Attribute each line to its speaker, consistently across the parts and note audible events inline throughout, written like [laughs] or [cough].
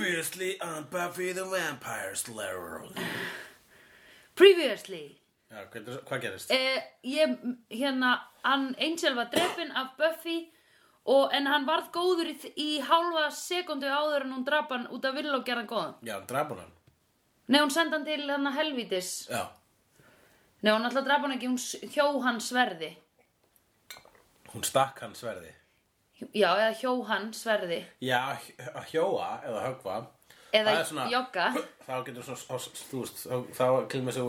Speaker 1: Previously on Buffy the Vampire Slayer
Speaker 2: Previously
Speaker 1: Já, hvað, hvað gerist?
Speaker 2: eh, ég, hérna, hann Angel var drefin af Buffy og, en hann varð góður í, í hálfa sekundu áður en hún draf hann út af vill og gerðan góðan
Speaker 1: Já, hann draf hann
Speaker 2: Nei, hún sendi hann til hann helvítis
Speaker 1: Já,
Speaker 2: Nei, hún alltaf draf hann ekki, hún s- hjó hann sverði
Speaker 1: hún stakk hann sverði
Speaker 2: Já, eða hjó hann sverði
Speaker 1: Já, að hjóa eða höggva
Speaker 2: Eða
Speaker 1: það er svona-
Speaker 2: jogga
Speaker 1: Þá getur svona, þá- þú veist, þá- þá kemur sig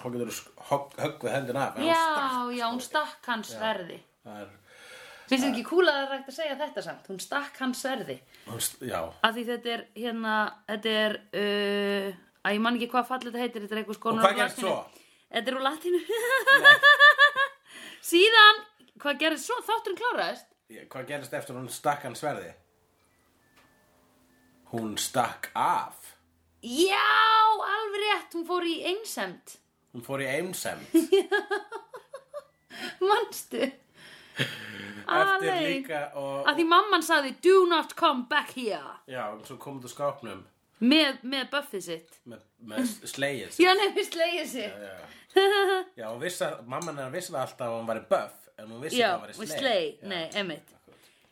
Speaker 1: Þá getur högg, höggvað hendin af en hún stakk-
Speaker 2: Já, já, hún stakk hann sverði
Speaker 1: það er,
Speaker 2: Finnst þið ekki kúla að það er hægt að segja þetta samt Hún stakk hann sverði
Speaker 1: hún, st- Já,
Speaker 2: Af því þetta er, hérna, þetta er, uh, að ég man ekki hvað fallið þetta heitir, þetta er eitthvað skonar
Speaker 1: Og hvað gerist svo?
Speaker 2: Þetta er úr latinu. [laughs] Síðan, hvað gerist svo? Þátturinn kláraðist?
Speaker 1: Ég- hvað gerist eftir hún stakk hann sverði? Hún stakk af
Speaker 2: Já, alveg rétt, hún fór í einsemd.
Speaker 1: Hún fór í einsemd
Speaker 2: [laughs] Manstu? Ah,
Speaker 1: Eftir
Speaker 2: Alveg.
Speaker 1: líka og
Speaker 2: Af því mamman sagði, do not come back here.
Speaker 1: Já, og svo komum þú skápnum
Speaker 2: Með, með buffið sitt.
Speaker 1: með, með slegið
Speaker 2: Mm. Já, nefnir slegið sitt.
Speaker 1: Já, já hún vissi að, mamman hennar vissi það alltaf að hún væri buff en hún vissi
Speaker 2: Já,
Speaker 1: ekki að
Speaker 2: með
Speaker 1: hún væri
Speaker 2: slei,
Speaker 1: sleið
Speaker 2: nei, emmitt.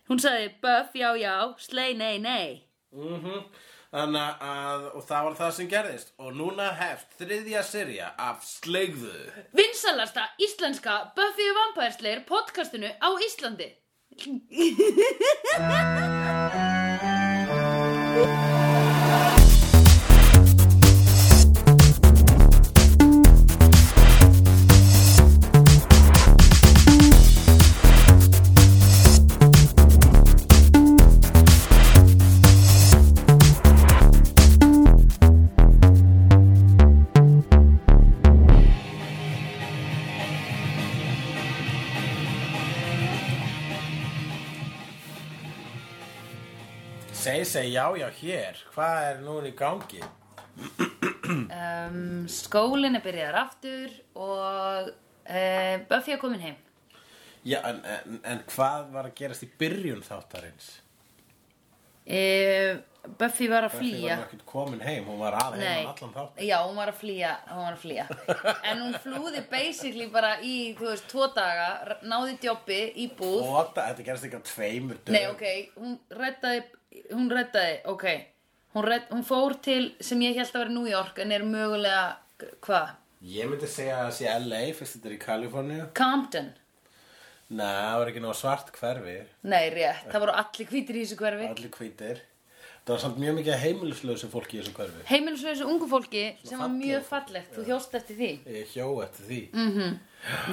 Speaker 2: Hún sagði, buff, já, já, slei, nei, nei.
Speaker 1: mm Þannig að, og það var það sem gerðist og núna hefst þriðja sirja af sleigðu
Speaker 2: Vinsalasta íslenska Buffy the Vampire Slayer podcastinu á Íslandi.
Speaker 1: Segi, segi, já, já, hér, hvað er núna í gangi?
Speaker 2: Um, skólinn er byrjaðar aftur og uh, Buffy er komin heim.
Speaker 1: Já, en, en, en hvað var að gerast í byrjun þáttarins?
Speaker 2: Uh, Buffy var að
Speaker 1: Því
Speaker 2: flýja.
Speaker 1: var ekki komin heim, hún var að
Speaker 2: Nei,
Speaker 1: heim allan þáttarins
Speaker 2: já, hún var að flýja, hún var að flýja. En hún flúði basically bara í, þú veist, tvo daga, r- náði djópi í búð.
Speaker 1: Og þetta þetta gerðist ekki á tveimur dögum
Speaker 2: Nei, ok, hún rettaði, hún rettaði, ok, hún, redd, hún fór til sem ég held að vera New York en er mögulega, hvað?
Speaker 1: Ég myndi segja að það sé LA fyrst þetta er í Kaliforníu.
Speaker 2: Compton.
Speaker 1: Nei, það var ekki náðu svart hverfi,
Speaker 2: Nei, rétt, það voru allir hvítir í þessu hverfi
Speaker 1: allir hvítir. Það var samt mjög mikið heimilislausu fólki í þessu hverfi.
Speaker 2: Heimilislausu ungu fólki sem var
Speaker 1: fallegu
Speaker 2: mjög
Speaker 1: fólki,
Speaker 2: fallegt Þú hjóst eftir því
Speaker 1: Ég hjó eftir því.
Speaker 2: Mm.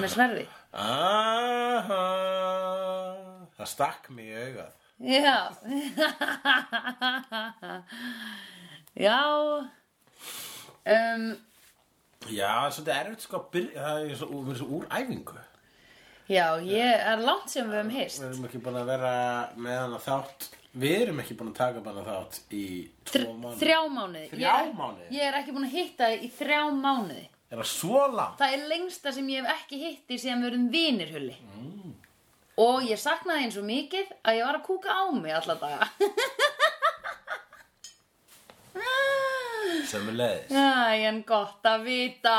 Speaker 2: með sverði
Speaker 1: Aha, það stakk mig í augað.
Speaker 2: Já [laughs] Já um,
Speaker 1: Já, það er svolítið erfitt sko að byrja, það er svo, við erum svo úr æfingu.
Speaker 2: Já, ég er langt sem við höfum hist
Speaker 1: Við erum ekki búin að vera með hana þátt, við erum ekki búin að taka bara þátt í
Speaker 2: Þr,
Speaker 1: tvo mánu.
Speaker 2: Þrjá mánuði
Speaker 1: Þrjá
Speaker 2: Ég er-
Speaker 1: mánuði?
Speaker 2: Ég er ekki búin að hitta þið í þrjá mánuði
Speaker 1: Er það svo langt?
Speaker 2: Það er lengsta sem ég hef ekki hitti sem við erum vinir hulli
Speaker 1: Mm.
Speaker 2: Og ég saknaði eins og mikið að ég var að kúka á mig alla
Speaker 1: [laughs]
Speaker 2: daga
Speaker 1: Sömmulegis.
Speaker 2: Æ, en gott að vita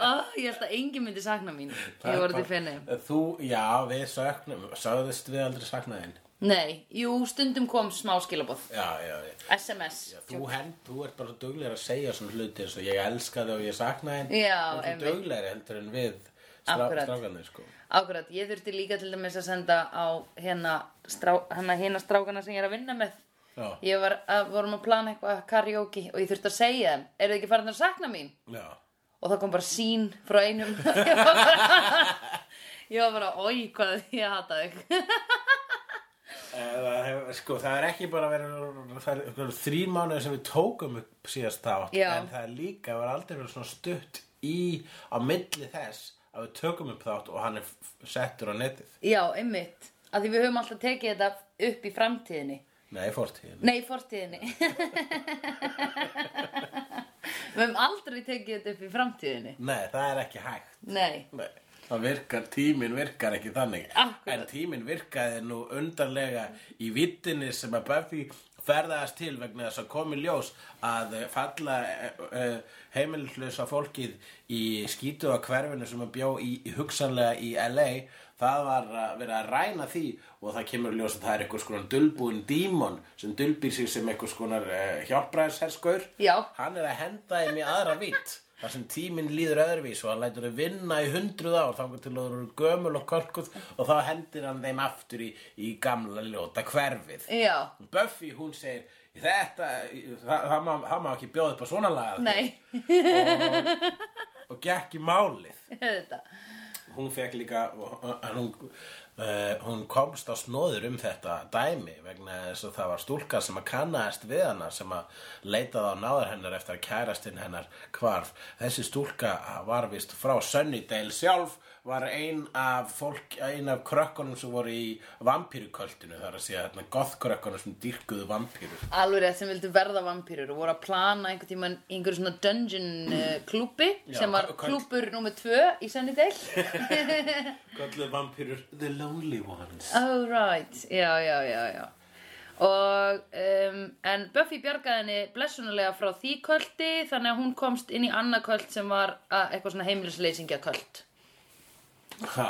Speaker 2: Ó, Ég held að engin myndi sakna mín Ég voru til finni
Speaker 1: Þú, já, við söknum, sögðist við aldrei saknaðinn.
Speaker 2: Nei, jú, stundum kom smá skilabóð
Speaker 1: Já, já, já.
Speaker 2: SMS
Speaker 1: Já, Þú, hend, þú ert bara duglegur að segja svona hluti eins og ég elska þig og ég sakna þig
Speaker 2: Já,
Speaker 1: þú ert
Speaker 2: einmitt.
Speaker 1: duglegur heldur en við strá,
Speaker 2: Akkurat.
Speaker 1: strákanir sko
Speaker 2: Akkurat, ég þurfti líka til dæmis að senda á hérna, strá, hérna, hérna strákana sem ég er að vinna með
Speaker 1: Já,
Speaker 2: Ég var að, vorum að plana eitthvað karaoke og ég þurfti að segja þeim Eru þið ekki farin að sakna mín?
Speaker 1: já,
Speaker 2: Og það kom bara sín frá einum [laughs] Ég var bara, [laughs] ég var bara, oi, hvað ég hata þig [laughs]
Speaker 1: Eða, hef- sko það er ekki bara verið það er einhverjum þrír mánuðir sem við tókum upp síðast þátt
Speaker 2: Já.
Speaker 1: en það er líka, það er aldrei verið svona stutt í á milli þess að við tökum upp þátt og hann er f- settur á netið
Speaker 2: Já, einmitt. Að því við höfum alltaf tekið þetta upp í framtíðinni.
Speaker 1: Nei, fórtíðin
Speaker 2: Nei, í fortíðinni. [laughs] við höfum aldrei tekið þetta upp í framtíðinni.
Speaker 1: Nei, það er ekki hægt
Speaker 2: Nei.
Speaker 1: Nei, það virkar, tíminn virkar ekki þannig
Speaker 2: Akkurat.
Speaker 1: En tíminn virkaði nú undarlega í vittinni sem að Buffy ferðast til vegna þess að komi ljós að eh, falla uh, heimilislösa fólkið í skítu á hverfinu sem að bjó í, í hugsanlega í LA það var að vera að ræna því og það kemur í ljós að það er einhvers konar dulbúin dímon sem dulbýr sig sem einhvers konar uh, hjálpræðisherskur
Speaker 2: Já.
Speaker 1: hann er að henda þeim í aðra vitt þar sem tíminn líður öðruvís og hann lætur þau vinna í hundruð ár þangar til að þau eru gömul og kölkuð og þá hendir hann þeim aftur í, í gamla ljóta hverfið
Speaker 2: Já,
Speaker 1: Buffy hún segir þetta, það, það, má, það má ekki bjóða upp á svona laga
Speaker 2: nei, [laughs]
Speaker 1: og gekk í málið
Speaker 2: þetta
Speaker 1: hún fekk líka en hún, uh, hún komst á snóður um þetta dæmi vegna þess að það var stúlka sem að kannaðist við hana sem að leitaði á náðar hennar eftir að kærastinn hennar hvarf þessi stúlka var vist frá Sunnydale sjálf var ein af fólk, ein af krökkunum sem voru í vampýruköltinu þar að segja hérna gothkrökkunum sem dýrkuðu vampýrur
Speaker 2: Alveg rétt sem vildu verða vampýrur og voru að plana einhvern tímann í einhverju svona dungeon uh, klúbbi
Speaker 1: Já,
Speaker 2: sem var
Speaker 1: hvað- hvað-
Speaker 2: klúbbur nummer tvö í Sunnydale
Speaker 1: [laughs] Gölluðu vampýrur The Lonely Ones
Speaker 2: Oh right, já, já, já, já Og, um, en Buffy bjargaði henni blessunulega frá því kvöldi þannig að hún komst inn í annað kvöld sem var að, eitthvað svona heimilisleysinga kvöld
Speaker 1: ha,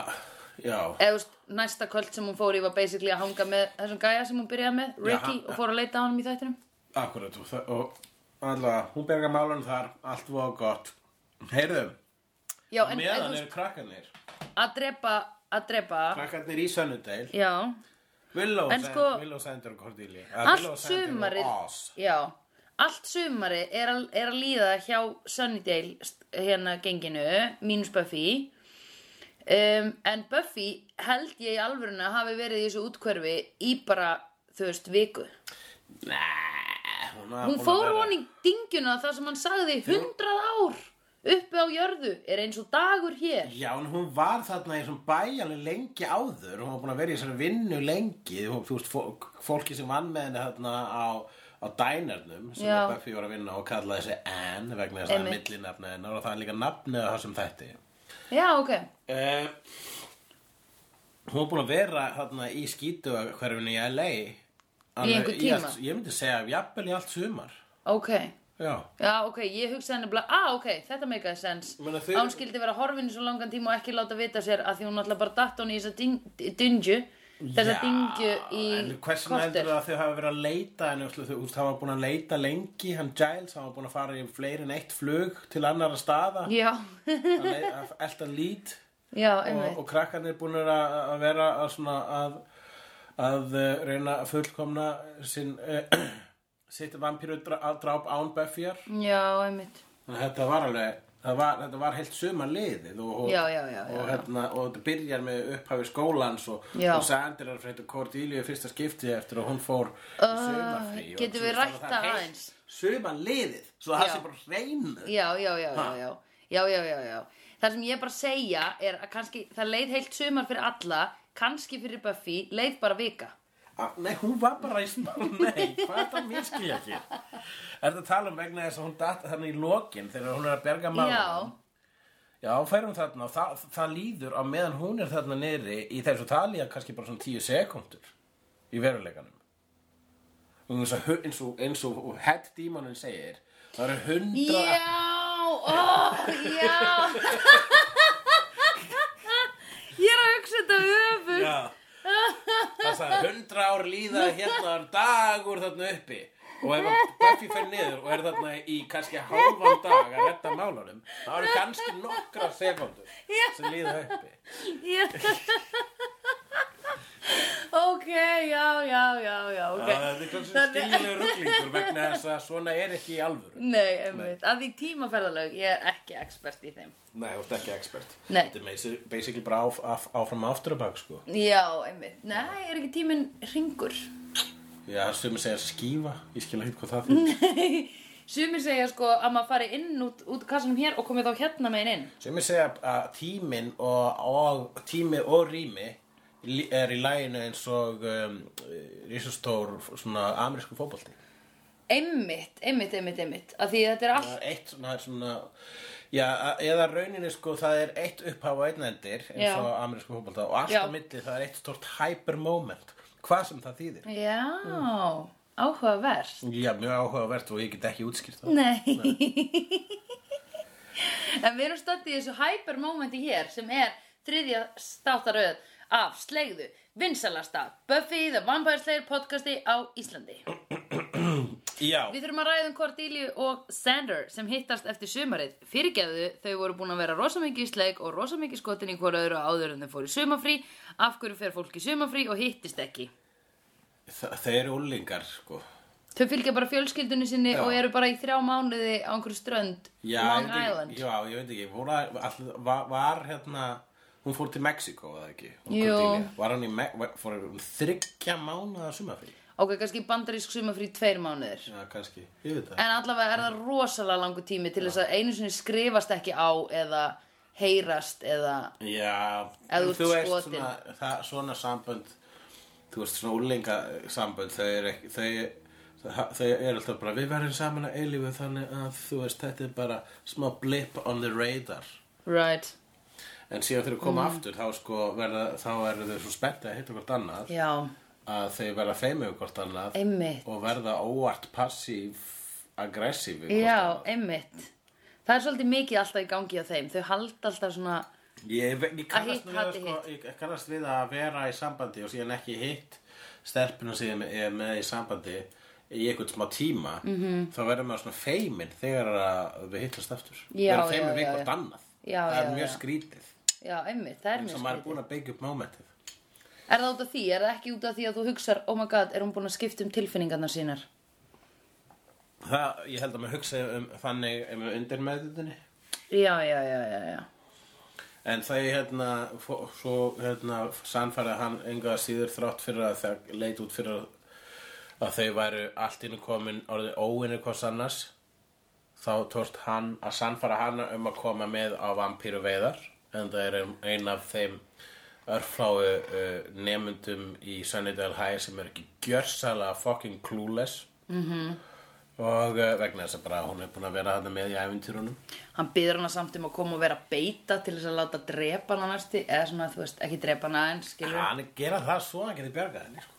Speaker 1: Já
Speaker 2: Eða þú veist, næsta kvöld sem hún fór í var basically að hanga með þessum gæja sem hún byrjaði með, Ricky,
Speaker 1: hann-
Speaker 2: og fór að leita á honum í þættinum
Speaker 1: Akkurat og, það- og allavega, hún berga málun þar, allt var gott. Heyrðu,
Speaker 2: Já, en, en þú
Speaker 1: meðan
Speaker 2: veist,
Speaker 1: eru krakkarnir,
Speaker 2: að drepa, að drepa
Speaker 1: krakkarnir í Sunnudale,
Speaker 2: Já,
Speaker 1: Willow,
Speaker 2: En
Speaker 1: Sand-
Speaker 2: sko-
Speaker 1: Willow Sander og Cordelia,
Speaker 2: allt sumarið
Speaker 1: Oz.
Speaker 2: já, allt sumarið er, að- er að líða hjá Sunnydale st- hérna genginu, mínus Buffy um, en Buffy held ég í alvöruna hafi verið í þessu útkverfi í bara þú veist, viku
Speaker 1: Nei, hún, var
Speaker 2: hún
Speaker 1: búin að
Speaker 2: fór
Speaker 1: vera-
Speaker 2: hon í dyngjuna þar sem hann sagði hundrað ár uppi á jörðu er eins og dagur hér
Speaker 1: Já, en hún var þarna í svona bæjarlega lengi áður hún var búin að vera í svona vinnu lengi þú þú veist, fólk, fólki sem vann með henni þarna á, á dænernum sem
Speaker 2: Já.
Speaker 1: að Buffy var að vinna og kallaði sig Anne vegna þess að það er
Speaker 2: Einmitt.
Speaker 1: millinafni hennar og það er líka nafnið á þessum þætti
Speaker 2: já, ok,
Speaker 1: uh, Hún var búin að vera þarna í skítu hverfinu í LA alveg
Speaker 2: einhvern
Speaker 1: í allt-
Speaker 2: tíma?
Speaker 1: Ég myndi segja, jafnvel í allt sumar
Speaker 2: ok
Speaker 1: Já
Speaker 2: Já, ok, ég hugsaði nefnilega, ah, ok, þetta make a sense.
Speaker 1: Ég meina,
Speaker 2: Að
Speaker 1: þeir-
Speaker 2: Hún skildi vera horfinu svo langan tíma og ekki láta vita sér að því hún alltaf bara datt hún í þessa dyng- dyngju, þessa
Speaker 1: Já,
Speaker 2: dyngju í
Speaker 1: en hversu heldur að þau hafa verið að leita en þú veist, hafa búin að leita lengi hann Giles, hafa búin að fara í fleiri en eitt flug til annara staða
Speaker 2: [laughs] Já,
Speaker 1: að lei- að elta lít
Speaker 2: já,
Speaker 1: og,
Speaker 2: einmitt.
Speaker 1: og krakkarnir búin að, að vera að, svona, að, að eh, reyna að fullkomna sin, uh, [clears throat] sitt vampíru dráp án Buffyar
Speaker 2: Já, einmitt.
Speaker 1: Þannig að þetta var alveg það var, þetta var heilt suma liðið og, og,
Speaker 2: Já, já, já, já,
Speaker 1: og,
Speaker 2: já.
Speaker 1: hérna, og þetta byrjar með upphafi skólans og,
Speaker 2: Já.
Speaker 1: og Sander er fyrir Cordelia í fyrsta skipti eftir að hún fór í sumafrí og
Speaker 2: Ah, getum
Speaker 1: þú veist,
Speaker 2: við
Speaker 1: þannig að
Speaker 2: rætt
Speaker 1: það er
Speaker 2: það
Speaker 1: heilt
Speaker 2: aðeins?
Speaker 1: suma liðið, svo það
Speaker 2: Já.
Speaker 1: sé bara hreinu
Speaker 2: Já, já, já, já, já, já, já, já, já. Það sem ég er bara að segja er að kannski, það leið heilt sumar fyrir alla, kannski fyrir Buffy, leið bara vika.
Speaker 1: Ah, Nei, hún var bara í smá, [laughs] nei, hvað er það mér skilja ekki? Er þetta að tala um vegna þess að hún datt þarna í lokin þegar hún er að berga mála?
Speaker 2: Já,
Speaker 1: Já, færum þarna og það, það líður á meðan hún er þarna niðri í þessu talíða kannski bara svona tíu sekundur í veruleikanum. Og eins og, eins og, eins og head dímonin segir, það eru hundra...
Speaker 2: Já, ó, já Ég er að hugsa þetta öfum
Speaker 1: Já. Það sagði hundra ár líða hérna er dagur þarna uppi og ef að Buffy fer niður og er þarna í kannski hálfan dag að redda málunum þá eru kannski nokkra sekundur sem líða uppi
Speaker 2: ég... [laughs] Ok, já, já, já, já ok.
Speaker 1: Það er kannski stílu ruglingur vegna þess að svona er ekki í alvöru
Speaker 2: Nei, einmitt, að því tímaferðalög Ég er ekki expert í þeim
Speaker 1: Nei, þú ert ekki expert
Speaker 2: Nei.
Speaker 1: Þetta er meisi- basically bara áf, af, áfram aftur og bak sko
Speaker 2: Já, einmitt, nei, er ekki tíminn ringur
Speaker 1: Já, sem segja skífa, ég skil ekki hvað það fyrir
Speaker 2: [laughs] Sumir segja sko að maður fari inn út, út kassanum hér og komið þá hérna megin inn
Speaker 1: Sem ég segja að tíminn og, og tími og rými li- er í læginu eins og um, risastór svona amerísku fótbolti.
Speaker 2: Einmitt, einmitt, einmitt, einmitt að Því þetta er allt
Speaker 1: Það er eitt svona, svona já, a- eða rauninni sko það er eitt upphaf og einn endir eins
Speaker 2: Já.
Speaker 1: og amerísku fótbolta og allt
Speaker 2: Já.
Speaker 1: á milli það er eitt stort hypermoment, hvað sem það þýðir.
Speaker 2: Já, Áhugavert.
Speaker 1: Já, mjög áhugavert og ég get ekki útskýrt það.
Speaker 2: Nei. [laughs] en við erum stödd í þessu hypermomenti hér sem er þriðja státtaröð af slegðu vinsalasta Buffy the Vampire Slayer podcasti á Íslandi.
Speaker 1: Já,
Speaker 2: Við þurfum að ræða um Cordelia og Sander sem hittast eftir sumarið. Fyrirgefðu, þau voru búin að vera rosa mikið í sleik og rosa mikið skotin í hvora öðru áður en þau fóru í sumafrí. Af hverju fer fólk í sumafrí og hittist ekki?
Speaker 1: þa- þeir eru úlingar, sko.
Speaker 2: Þau fylgja bara fjölskyldunni sinni
Speaker 1: Já.
Speaker 2: og eru bara í þrjá mánuði á einhverju strönd
Speaker 1: Já, ég
Speaker 2: Long
Speaker 1: veit ekki-
Speaker 2: Island.
Speaker 1: Já, ég veit ekki, voru, að- all, var, var hérna, hún fór til Mexiko, eða ekki? Hún
Speaker 2: Jú.
Speaker 1: Cordelia. Var hann í, Me fór hún þryggja mánuða sumafrí?
Speaker 2: Ok, kannski bandarísk sumafrí tveir mánuðir.
Speaker 1: Já, kannski, ég veit það.
Speaker 2: En allavega er það rosalega langur tími til þess að einu sinni skrifast ekki á eða heyrast eða...
Speaker 1: Já,
Speaker 2: Ef þú
Speaker 1: en þú
Speaker 2: ert
Speaker 1: veist
Speaker 2: skotin.
Speaker 1: svona, það, svona sambönd, þú veist svona úlinga sambönd, þau eru ekki, þau, þau eru alltaf bara, við verðum saman að eilífu þannig að þú veist, þetta er bara smá blip on the radar.
Speaker 2: Right.
Speaker 1: En síðan þegar þau
Speaker 2: Mm.
Speaker 1: koma aftur, þá sko verða, þá eru þau svo spenntið að hitta hvort annað,
Speaker 2: Já,
Speaker 1: að þau verða feimu hvort annað
Speaker 2: Einmitt.
Speaker 1: og verða óvart passív, aggressív.
Speaker 2: já, einmitt. Það er svolítið mikið alltaf í gangi á þeim. Þau halda alltaf svona...
Speaker 1: Ég, ve- ég,
Speaker 2: Að
Speaker 1: kannast
Speaker 2: hitt
Speaker 1: við að,
Speaker 2: hati
Speaker 1: sko, ég kannast við að vera í sambandi og síðan ekki hitt stelpuna sem er með í sambandi í einhvern smá tíma
Speaker 2: Mhm.
Speaker 1: -hmm. þá verður maður svona feiminn þegar að við hittast aftur
Speaker 2: Já,
Speaker 1: verður
Speaker 2: já,
Speaker 1: feiminn við
Speaker 2: já,
Speaker 1: hvort
Speaker 2: já.
Speaker 1: annað
Speaker 2: Já,
Speaker 1: það er
Speaker 2: já,
Speaker 1: mjög
Speaker 2: já.
Speaker 1: skrítið
Speaker 2: Já, einmitt, það er
Speaker 1: eins
Speaker 2: mjög
Speaker 1: og maður er
Speaker 2: skrítið.
Speaker 1: búin að byggja upp momentið
Speaker 2: Er það út af því? Er það ekki út af því að þú hugsar, oh my god, er hún búin að skipta um tilfinningarnar sínar?
Speaker 1: það, ég held að maður hugsa um þannig um undir meðutinni
Speaker 2: Já, já, já, já, já.
Speaker 1: En það er hérna, fó- svo hérna sannfærið hann enga síður þrátt fyrir að það leit út fyrir að- að þau væru allt innu komin orðið óinni hvers annars þá tórt hann að sannfæra hana um að koma með á vampíru veiðar en það er ein- ein af þeim örfláu uh, nemyndum í Sunnydale High sem er ekki gjörsalega fucking clueless mm -hmm. og uh, vegna þess að bara hún er búin að vera þarna með í æfintýrunum
Speaker 2: Hann byður hana samt um að koma og vera beita til þess að láta drepa hana næstu, eða svona, þú veist, ekki drepa hana en skilur.
Speaker 1: hann er að gera það svo hann geti bjargað henni sko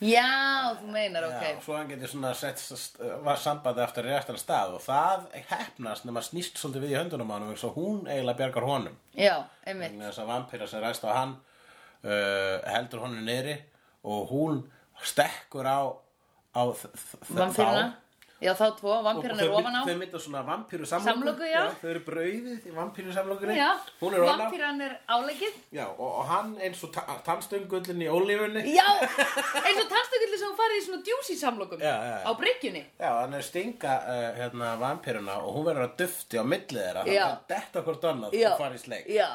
Speaker 2: Já, þú meinar, ok.
Speaker 1: Já, og svo hann getur svona sett var sambandi aftur í réttan stað og það hefnast nema snýst svolítið við í höndunum á hann og hún eiginlega bjargar honum
Speaker 2: Já, einmitt.
Speaker 1: vegna þess að vampýra sem ræst á hann uh, heldur honum niðri og hún stekkur á, á þ- þ- þ-
Speaker 2: Vampýruna. Já, þá tvo,
Speaker 1: þá
Speaker 2: vampýruna er
Speaker 1: Og þau-
Speaker 2: ofan á.
Speaker 1: þau mynda svona vampýru
Speaker 2: Samloku, já.
Speaker 1: þau eru brauðið í vampýru samlokunni
Speaker 2: Já,
Speaker 1: hún er ofan á
Speaker 2: vampýran er áleggið.
Speaker 1: já, og, og hann eins og ta tannstönggullin í ólífunni
Speaker 2: Já, [laughs] eins og tannstökullir sem hún farið í svona djúsi samlokum
Speaker 1: Já, já, já.
Speaker 2: á bryggjunni.
Speaker 1: Já, hann er stinga uh, hérna vampiruna og hún verður að dufti á milli þeirra
Speaker 2: Já.
Speaker 1: þannig að detta hvort annað
Speaker 2: Já,
Speaker 1: og fara í sleik
Speaker 2: já,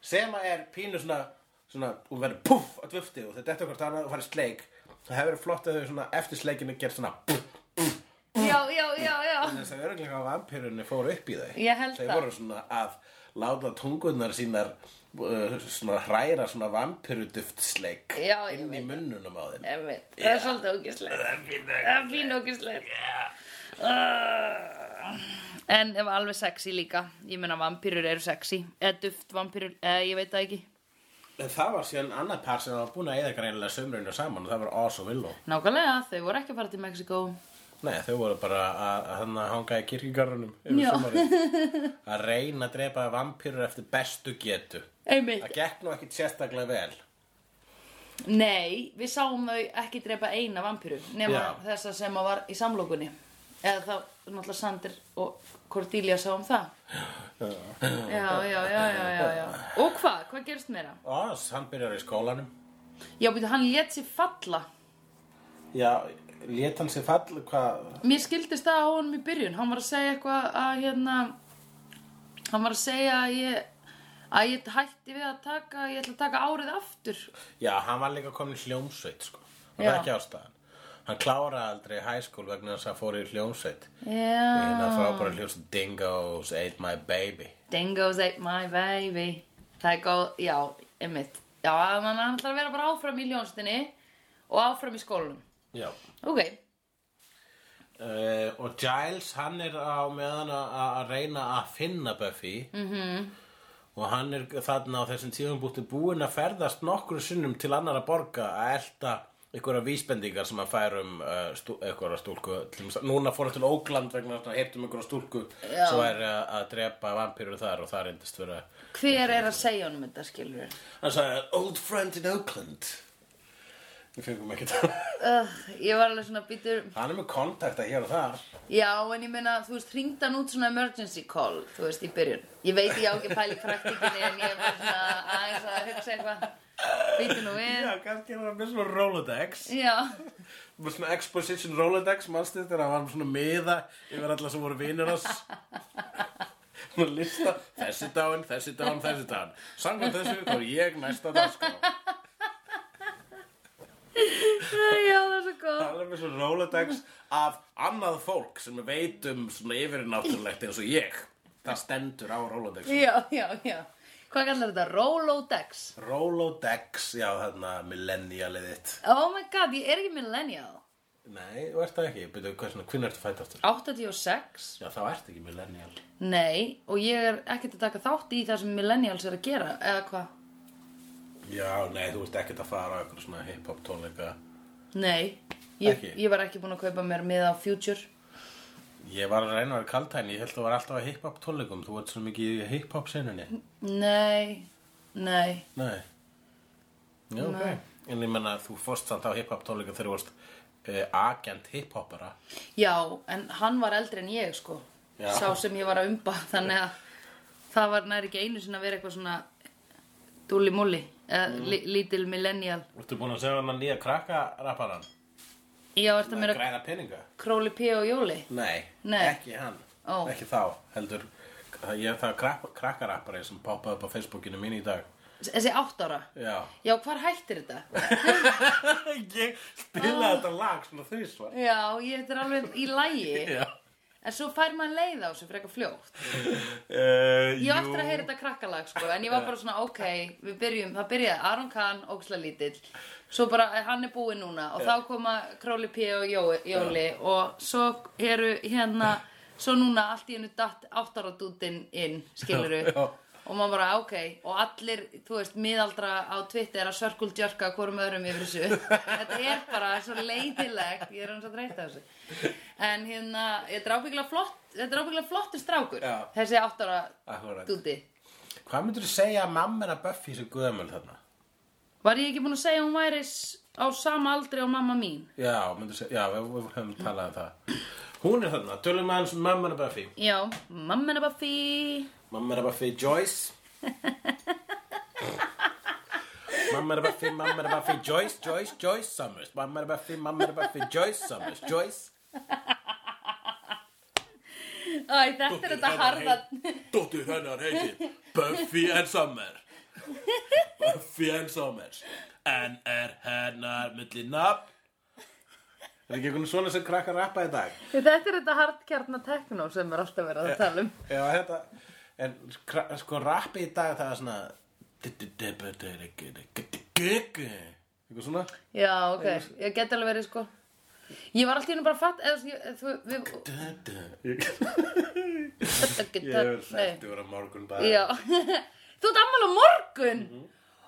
Speaker 1: sem að er pínu svona, svona hún verður puff á dufti og þau detta hvort annað og fara í sleik það hefur verið flott að þau svona eftir sleikinu gerð svona puff
Speaker 2: já, já, já, já.
Speaker 1: þess að örglega vampirunni fóru upp í þau
Speaker 2: Ég held
Speaker 1: þau
Speaker 2: það.
Speaker 1: voru svona að láta tungunar sínar uh, svona hræra svona vampiruduftsleik
Speaker 2: Já, ég
Speaker 1: inn í munnunum á þeim
Speaker 2: Einmitt. Það er svolítið ógislegt.
Speaker 1: Það er fínu.
Speaker 2: Það er fín ógislegt. Uh, en ef alveg sexy líka. Ég meina vampýrur eru sexy. Eða duft vampýrur, eða ég veit það ekki.
Speaker 1: En það var síðan annað par sem var búin að eða greinilega sömrinu saman og það var Oz og Willow.
Speaker 2: Nákvæmlega, þau voru ekki að fara til Mexiko.
Speaker 1: Nei, þau voru bara að, að hana hanga í kirkigarunum
Speaker 2: Já.
Speaker 1: yfir
Speaker 2: [laughs]
Speaker 1: sumarið. Að reyna að drepa vampýrur eftir bestu getu.
Speaker 2: Einmitt.
Speaker 1: Það gekk nú ekki sérstaklega vel.
Speaker 2: Nei, við sáum þau ekki drepa eina vampíru nema
Speaker 1: Já.
Speaker 2: þessa sem að var í samlokunni eða þá náttúrulega Sander og Cordelia sáum það Já, já, já, já, já, já. Og hvað? Hvað gerst meira?
Speaker 1: Oz, hann byrjar í skólanum.
Speaker 2: Já, býtu, hann lét sér falla
Speaker 1: Já, lét hann sér fall, hvað?
Speaker 2: Mér skildist það á honum í byrjun Hann var að segja eitthvað að hérna Hann var að segja að ég að ég hætti við að taka ég ætla að taka árið aftur
Speaker 1: Já, hann var líka komin í hljómsveit, sko. Og
Speaker 2: Já.
Speaker 1: það er ekki ástæðan. Hann kláraði aldrei high school vegna þess að hann fór í hljómsveit. Það
Speaker 2: Já
Speaker 1: frábæra hljómsveit Dingoes ate my baby.
Speaker 2: Dingoes ate my baby Það er góð, já, einmitt Já, hann hann ætlar að vera bara áfram í ljónstinni og áfram í skólanum
Speaker 1: Já.
Speaker 2: Ok,
Speaker 1: Uh, og Giles, hann er á meðan að- að að reyna að finna Buffy -hmm. og hann er þarna á þessum tíðum búin að ferðast nokkru sinnum til annara borga að elta einhverja vísbendingar sem að færa um uh, stú, einhverja stúlku til dæmis- núna fór hann til Ógland vegna þess að heyrtum einhverja stúlku
Speaker 2: Já.
Speaker 1: sem væri að, að drepa vampýrur þar og það reyndist vera
Speaker 2: Hver er að segja honum þetta, skilur við?
Speaker 1: hann sagði old friend in Oakland við fengum ekki það
Speaker 2: Uh, ég var alveg svona býtur
Speaker 1: hann er með kontakta hér og þar
Speaker 2: Já, en ég meina, þú veist, hringd hann út svona emergency call, þú veist, í byrjun Ég veit ég á ekki að pæla í praktikinni en ég er bara svona aðeins að hugsa eitthvað Býtu nú við
Speaker 1: já, kannski er hann með svona Rolodex
Speaker 2: Já,
Speaker 1: með svona exposition Rolodex mannstu þegar hann var með svona miða yfir alla sem voru vinir oss svona lista þessi dáin, þessi dáin, þessi dáin samkvæmt þessu þá er ég næsta sko. dagskrá
Speaker 2: já, það er svo góð
Speaker 1: hann er með svona um Rolodex af annað fólk sem veit um svona yfirnáttúrulegt eins og ég það stendur á Rolodex
Speaker 2: Já, já, já Hvað kallar þetta? Rolodex?
Speaker 1: Rolodex, já þarna millennialið þitt
Speaker 2: Oh my god, ég er ekki millennial
Speaker 1: nei, þú ert það ekki, byrjuðu hvað svona hvernig ertu fætt aftur
Speaker 2: 86?
Speaker 1: já, þá ert ekki millennial
Speaker 2: Nei, og ég er ekkert að taka þátt í það sem millennials er að gera, eða hvað?
Speaker 1: Já, nei, þú ert ekkert að fara á eitthvað svona hip-hop tónleika.
Speaker 2: Nei, ég,
Speaker 1: Ekki?
Speaker 2: ég var ekki búin að kaupa mér miða á Future
Speaker 1: Ég var að reyna að vera kaltæn, ég held að þú var alltaf að hip-hop tónleikum, þú ert svo mikið í hip-hop senunni.
Speaker 2: Nei, nei
Speaker 1: Nei. Já, ok. En ég menna, þú fórst samt á hip-hop tónleika þegar þú varst uh, agent hip-hopara.
Speaker 2: Já, en hann var eldri en ég sko
Speaker 1: Já.
Speaker 2: Sá sem ég var að umba [laughs] Þannig að það var nær ekki einu sinni að vera eitthvað svona Dúli múli eða mm. Lítil millennial
Speaker 1: Þú ertu búin að segja um hann að nýja krakka rapparan?
Speaker 2: Já, ertu að mér að
Speaker 1: Græna peninga?
Speaker 2: króli pí og jóli
Speaker 1: Nei,
Speaker 2: Nei.
Speaker 1: ekki hann.
Speaker 2: Ó.
Speaker 1: Ekki þá, heldur. Ég það krakka, krakkarappari sem poppaði upp á Facebookinu mín í dag.
Speaker 2: Þessi átt ára
Speaker 1: Já.
Speaker 2: Já, hvar hættir þetta?
Speaker 1: [laughs] ég spilaði þetta lag svona þvísvar.
Speaker 2: Já, ég þetta er alveg í lægi
Speaker 1: Já.
Speaker 2: En svo fær maður leið á þessu frekar fljótt
Speaker 1: Uh,
Speaker 2: Ég var eftir að heyra þetta krakkalag sko, en ég var bara svona, ok, við byrjum, það byrjaði Aron Kahn, óksla lítill, svo bara, eh, hann er búinn núna og þá koma Króli P. og Jó, Jóli og svo eru hérna, svo núna allt í hennu datt áttaradútin inn, skiluru,
Speaker 1: Já, já.
Speaker 2: og maður bara, ok, og allir, þú veist, miðaldra á Twitter að sörkuldjörka hvorum öðrum yfir
Speaker 1: [laughs]
Speaker 2: þessu, þetta er bara svo leiðilegt, ég er hans að dreita þessu, en hérna, þetta er ábyggilega flott, þetta er ábyggilega flottur strákur,
Speaker 1: Já.
Speaker 2: þessi áttara
Speaker 1: Akkúrat.
Speaker 2: dúti.
Speaker 1: Hvað myndur þú segja að mamma að Buffy sem guðamöl þarna?
Speaker 2: Var ég ekki búin að segja að hún væri s- á sama aldri og mamma mín?
Speaker 1: Já, myndur segja, já, við, við höfum talað um það. Hún er þarna, tölum aðeins um mamma að Buffy.
Speaker 2: Já, mamma hennar Buffy.
Speaker 1: Mamma að Buffy Joyce. Mamma að Buffy, mamma að Buffy Joyce, Joyce, Joyce Summers. Mamma að Buffy, mamma að Buffy Joyce Summers, Joyce.
Speaker 2: Æ, þetta er þetta harða.
Speaker 1: Dóttir hennar heitir Buffy and Summer. Buffy and Summers. En er hennar milli nafn? Er ekki einhvern svona sem krakkar rappa í dag?
Speaker 2: Þetta er þetta hardkjarnar tekno sem er alltaf verið að tala um.
Speaker 1: Já, þetta hérna, En kra- sko rappi í dag það er svona Eitthvað svona
Speaker 2: Já, ok. Ég get alveg verið sko. Ég var alltaf bara að fatta, eða þú- ég- þú, við...
Speaker 1: Ég
Speaker 2: Ég
Speaker 1: er sættur á morgun bara
Speaker 2: Já. [laughs] þú ert ammal á morgun?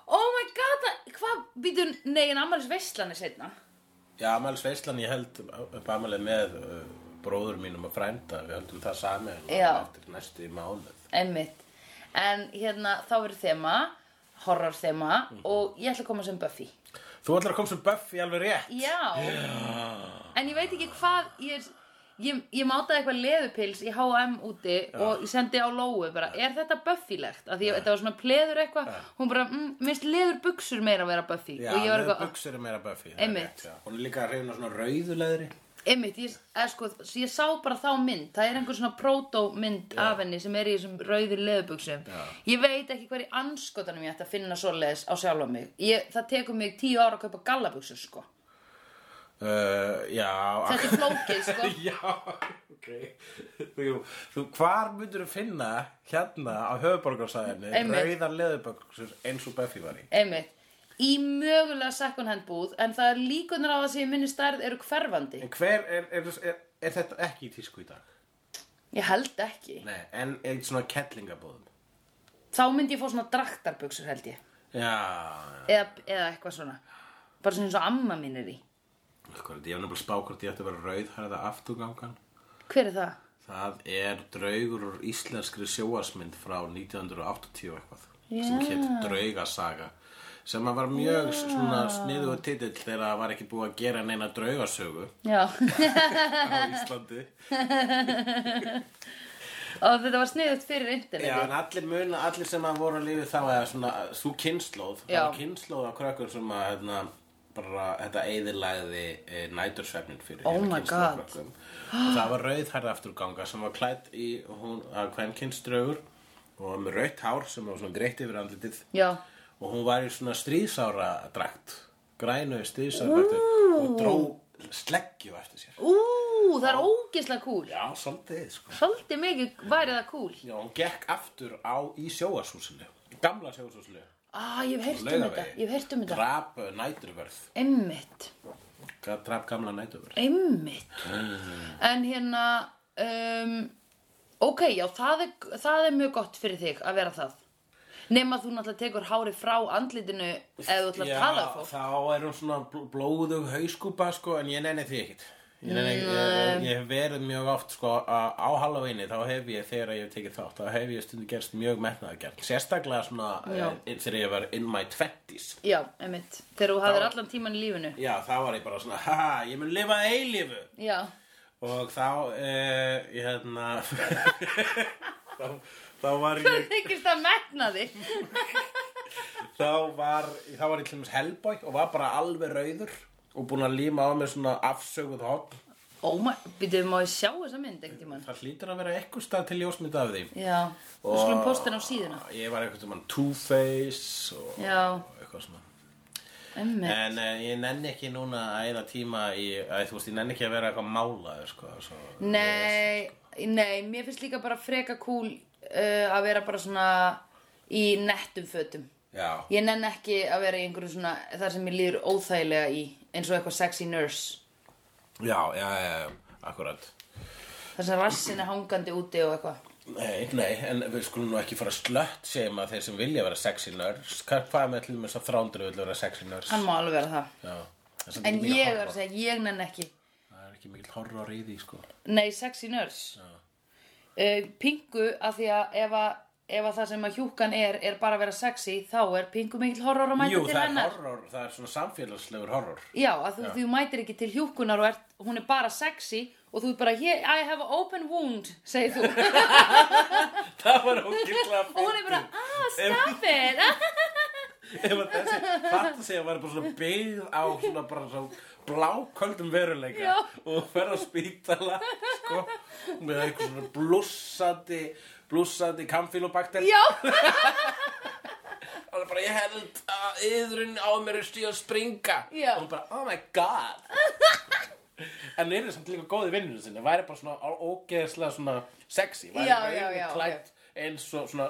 Speaker 2: Oh my god, það- hvað býtur, nei, en ammalis veislan er setna.
Speaker 1: Já, Amals Veislan ég held upp Amalið með uh, bróður mínum að frænda Við höldum það sami
Speaker 2: Já.
Speaker 1: eftir næstu mánuð
Speaker 2: Einmitt. En hérna, þá verður þema, horror þema og ég ætla að koma sem Buffy.
Speaker 1: Þú ætlar að koma sem Buffy alveg rétt
Speaker 2: Já. En ég veit ekki hvað, ég, er- ég, ég mátaði eitthvað leðupils í H&M úti og ég sendi á Lóu bara, er þetta Buffy-legt? Af því ég, þetta var svona pleður eitthvað, hún bara, mm, minnst leður buksur meira að vera Buffy.
Speaker 1: Já,
Speaker 2: og ég var
Speaker 1: með
Speaker 2: eitthvað,
Speaker 1: buksur er meira Buffy það er
Speaker 2: Einmitt.
Speaker 1: rétt, já. Hún er líka að reyna svona rauðulegri
Speaker 2: einmitt, ég, eða, sko, ég sá bara þá mynd, það er einhver svona proto-mynd af henni sem er í þessum rauður leðubuxum. Ég veit ekki hver í anskotanum ég ætti að finna svoleiðis á sjálfa mig. Ég, það tekur mig tíu ára að kaupa gallabuxur, sko.
Speaker 1: uh, Já,
Speaker 2: Þetta er flókið, sko.
Speaker 1: [laughs] Já, ok Þú, þú hvar myndur þú finna hérna á höfuborgarsæðinni
Speaker 2: Einmitt.
Speaker 1: rauðar leðuböksur eins og Buffy var í
Speaker 2: Einmitt. Í mögulega second hand búð, en það er líkunar á að sem ég minni stærð eru hverfandi.
Speaker 1: En hver, er, er, er, er þetta ekki í tísku í dag?
Speaker 2: Ég held ekki.
Speaker 1: Nei, en eitt svona kettlingabúðum
Speaker 2: Þá myndi ég fá svona draktarbuxur, held ég.
Speaker 1: Já, já
Speaker 2: Eða, eða eitthvað svona. bara svona eins og amma mín er í
Speaker 1: Hvort, ég hef nefnilega spá hvort ég ætti að vera rauðhærða afturgangan.
Speaker 2: hver er það?
Speaker 1: Það er draugur úr íslenskri sjóasmynd frá 1980 og eitthvað.
Speaker 2: Já.
Speaker 1: Sem hétt Draugasaga. Sem að var mjög svona sniðugur titill þegar það var ekki búið að gera neina draugasögu
Speaker 2: Já, [laughs]
Speaker 1: á Íslandi.
Speaker 2: og þetta var sniðut fyrir
Speaker 1: Já,
Speaker 2: interneti
Speaker 1: en allir muna, allir sem að voru að lífi þá eða svona, þú kynnslóð, það
Speaker 2: Já.
Speaker 1: var kynnslóð af krökkur sem að, hérna, bara, þetta eyðilæði e, nætursvefnin fyrir
Speaker 2: Oh
Speaker 1: hérna
Speaker 2: my
Speaker 1: kynslóð af
Speaker 2: God.
Speaker 1: krökkum. Og það var rauðhærða afturganga sem var klætt í, hún, að hvern kynnströgur og var með rautt hár sem var svona greitt yfir andlitið
Speaker 2: Já,
Speaker 1: og hún var í svona stríðsára drakt, grænu stríðsára drakt og dró sleggju eftir sér.
Speaker 2: ú, það er ógeðslega cool
Speaker 1: Já, svolítið, sko.
Speaker 2: Svolítið mikið væri það cool
Speaker 1: Já, hún gekk aftur á í sjóasúsinu, gamla sjóasúsinu.
Speaker 2: Ah, ég hef heyrt um þetta, ég hef heyrt um þetta
Speaker 1: Drap uh, næturverð,
Speaker 2: Einmitt,
Speaker 1: Ga- drap gamla næturverð.
Speaker 2: einmitt
Speaker 1: Ah.
Speaker 2: En hérna, um, ok, já, það er, það er mjög gott fyrir þig að vera það Nefn að þú náttúrulega tekur hárið frá andlitinu eða þú ætlar að tala við fólk
Speaker 1: þá er hún svona bl- blóðug hauskúpa, sko, en ég nenni því ekkit. Ég, nenni,
Speaker 2: Mm, eh.
Speaker 1: ég, ég hef verið mjög oft, sko, að- á Halloweenið, þá hef ég, þegar ég hef tekið þátt, þá hef ég stundu gerst mjög metnaðagjart. Sérstaklega svona,
Speaker 2: Já.
Speaker 1: eh, þegar ég var in my twenties.
Speaker 2: Já, einmitt, þegar þú hafðir allan tíman í lífinu
Speaker 1: Já, þá var ég bara svona, haha, ég mun lifa eilífu.
Speaker 2: Já, [laughs]
Speaker 1: Og þá, eh, ég hérna, [laughs] þá, þá var ég,
Speaker 2: þykist að metna þig
Speaker 1: þá var, þá var ég til dæmis hellbói og var bara alveg rauður og búinn að líma á mig svona afsöguð hotn.
Speaker 2: Óma, býtum Oh má ég sjá þessa mynd einhvern tímann
Speaker 1: Það hlýtur að vera eitthvað stað til ljósmynd af því.
Speaker 2: Já, við skulum posta hann á síðuna
Speaker 1: Ég var eitthvað sem hann Two-Face og
Speaker 2: Já.
Speaker 1: eitthvað svona.
Speaker 2: Emmi,
Speaker 1: En eh, ég nenni ekki núna að eina tíma í, að, þú veist, ég nenni ekki að vera eitthvað málaður, sko. Svo,
Speaker 2: nei, nei, mér finnst líka bara freka cool uh, að vera bara svona í nettum fötum
Speaker 1: Já.
Speaker 2: Ég nenn ekki að vera í einhverju svona þar sem ég líður óþægilega í eins og eitthvað sexy nurse
Speaker 1: Já, já, já, já, akkurat.
Speaker 2: þar sem rassin er hangandi úti og eitthvað
Speaker 1: Nei, nei, en við skulum nú ekki fara slött sem að þeir sem vilja vera sexy nurse hvað, hvað með til þess að þrándur vilja vera sexy nurse
Speaker 2: Hann má alveg vera það
Speaker 1: Já, það er samt
Speaker 2: En
Speaker 1: ekki mikill
Speaker 2: ég er að
Speaker 1: horror.
Speaker 2: segja, ég nenn ekki
Speaker 1: Það er ekki mikill horror í því, sko
Speaker 2: Nei, sexy nurse uh, Pingu að því að ef að Ef að það sem að hjúkan er, er bara að vera sexy, þá er pingu mikill horror að mæta
Speaker 1: Jú,
Speaker 2: til
Speaker 1: það er
Speaker 2: hennar.
Speaker 1: horror, það er svona samfélagslegur horror [laughs]
Speaker 2: Já, að þú, þú mætir ekki til hjúkunar og ert, hún er bara sexy og þú er bara, yeah, I have an open wound, segir þú. og
Speaker 1: Það var
Speaker 2: [laughs]
Speaker 1: ógillega
Speaker 2: hún er bara, ah, stop it.
Speaker 1: Ef að þessi fatta sig að vera bara svona byggð á svona bara svona bláköldum veruleika
Speaker 2: Já.
Speaker 1: og fer á spítala sko, með eitthvað svona blússandi blússandi kamfílobakter
Speaker 2: Já,
Speaker 1: og það er bara ég held að yðrun á mér er stíð að springa
Speaker 2: Já.
Speaker 1: og hún bara oh my
Speaker 2: [laughs]
Speaker 1: god en er það samt líka góði vinnunum sinni væri bara svona ó- ógeðslega svona sexy væri
Speaker 2: Já,
Speaker 1: rauð
Speaker 2: já, já,
Speaker 1: klædd eins og svona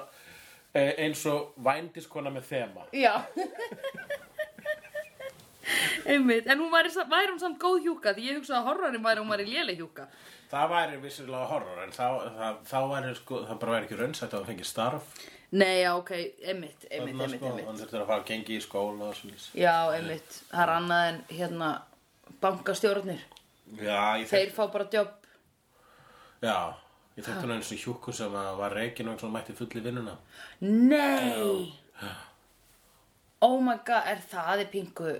Speaker 1: eh, eins og vændiskona með þema
Speaker 2: já. Einmitt, en hún væri, sa- væri hún samt góð hjúka því ég hugsaði að horrorin væri hún væri léleg hjúka.
Speaker 1: það væri vissilega horror en þá, það, þá væri sko það bara væri ekki raunnsætt að það fengi starf
Speaker 2: Nei, já, ok, einmitt, einmitt,
Speaker 1: þannig
Speaker 2: einmitt,
Speaker 1: sko
Speaker 2: einmitt.
Speaker 1: hann þurftur að fara að gengi í skóla og svona
Speaker 2: Já, einmitt, það er annað en hérna bankastjórnir.
Speaker 1: já ég
Speaker 2: Þeir
Speaker 1: þekkt
Speaker 2: fá bara jobb.
Speaker 1: já ég þekkt hann eins og hjúku sem að var reikin og svona mætti fulli vinnuna
Speaker 2: Nei Oh my god, er það er pingu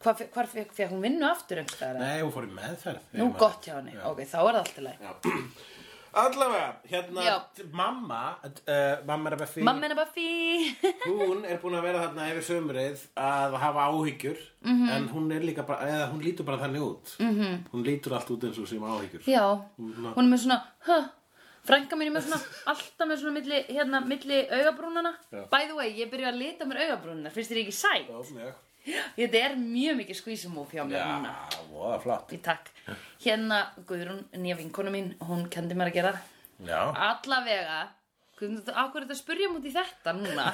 Speaker 2: Hvar, fe- hvar fekk, fekk hún vinnu aftur einhvers staðar? eða?
Speaker 1: Nei, hún fór í meðferð
Speaker 2: Nú
Speaker 1: Ég man-
Speaker 2: gott hjá henni,
Speaker 1: Já.
Speaker 2: ok, þá er það allt í lagi
Speaker 1: Já. [clears throat] Allavega, hérna
Speaker 2: Já.
Speaker 1: t- mamma uh, mamma er að fyrir
Speaker 2: Mamma henni bara
Speaker 1: [laughs]
Speaker 2: fí
Speaker 1: hún er búin að vera þarna yfir sömrið að hafa áhyggjur
Speaker 2: Mhm.
Speaker 1: -hmm. en hún er líka bara, eða hún lítur bara þannig út -hmm. hún lítur allt út eins og sem áhyggjur
Speaker 2: Já, hún er með svona huh, Frænka mín er með svona Alltaf með svona milli, hérna, milli augabrúnana
Speaker 1: Já.
Speaker 2: By the way, ég byrja að lita mér augabrúnana Finnst þér ekki sæt?
Speaker 1: Já, mjög.
Speaker 2: Þetta er mjög mikið skvísumóf hjá mér núna
Speaker 1: Já, voða flott
Speaker 2: Í takk Hérna, Guðrún, nýja vinkonu mín Hún kendi mér að gera það
Speaker 1: Já,
Speaker 2: Allavega Hvernig þú, akkur er þetta að spurja múti þetta núna?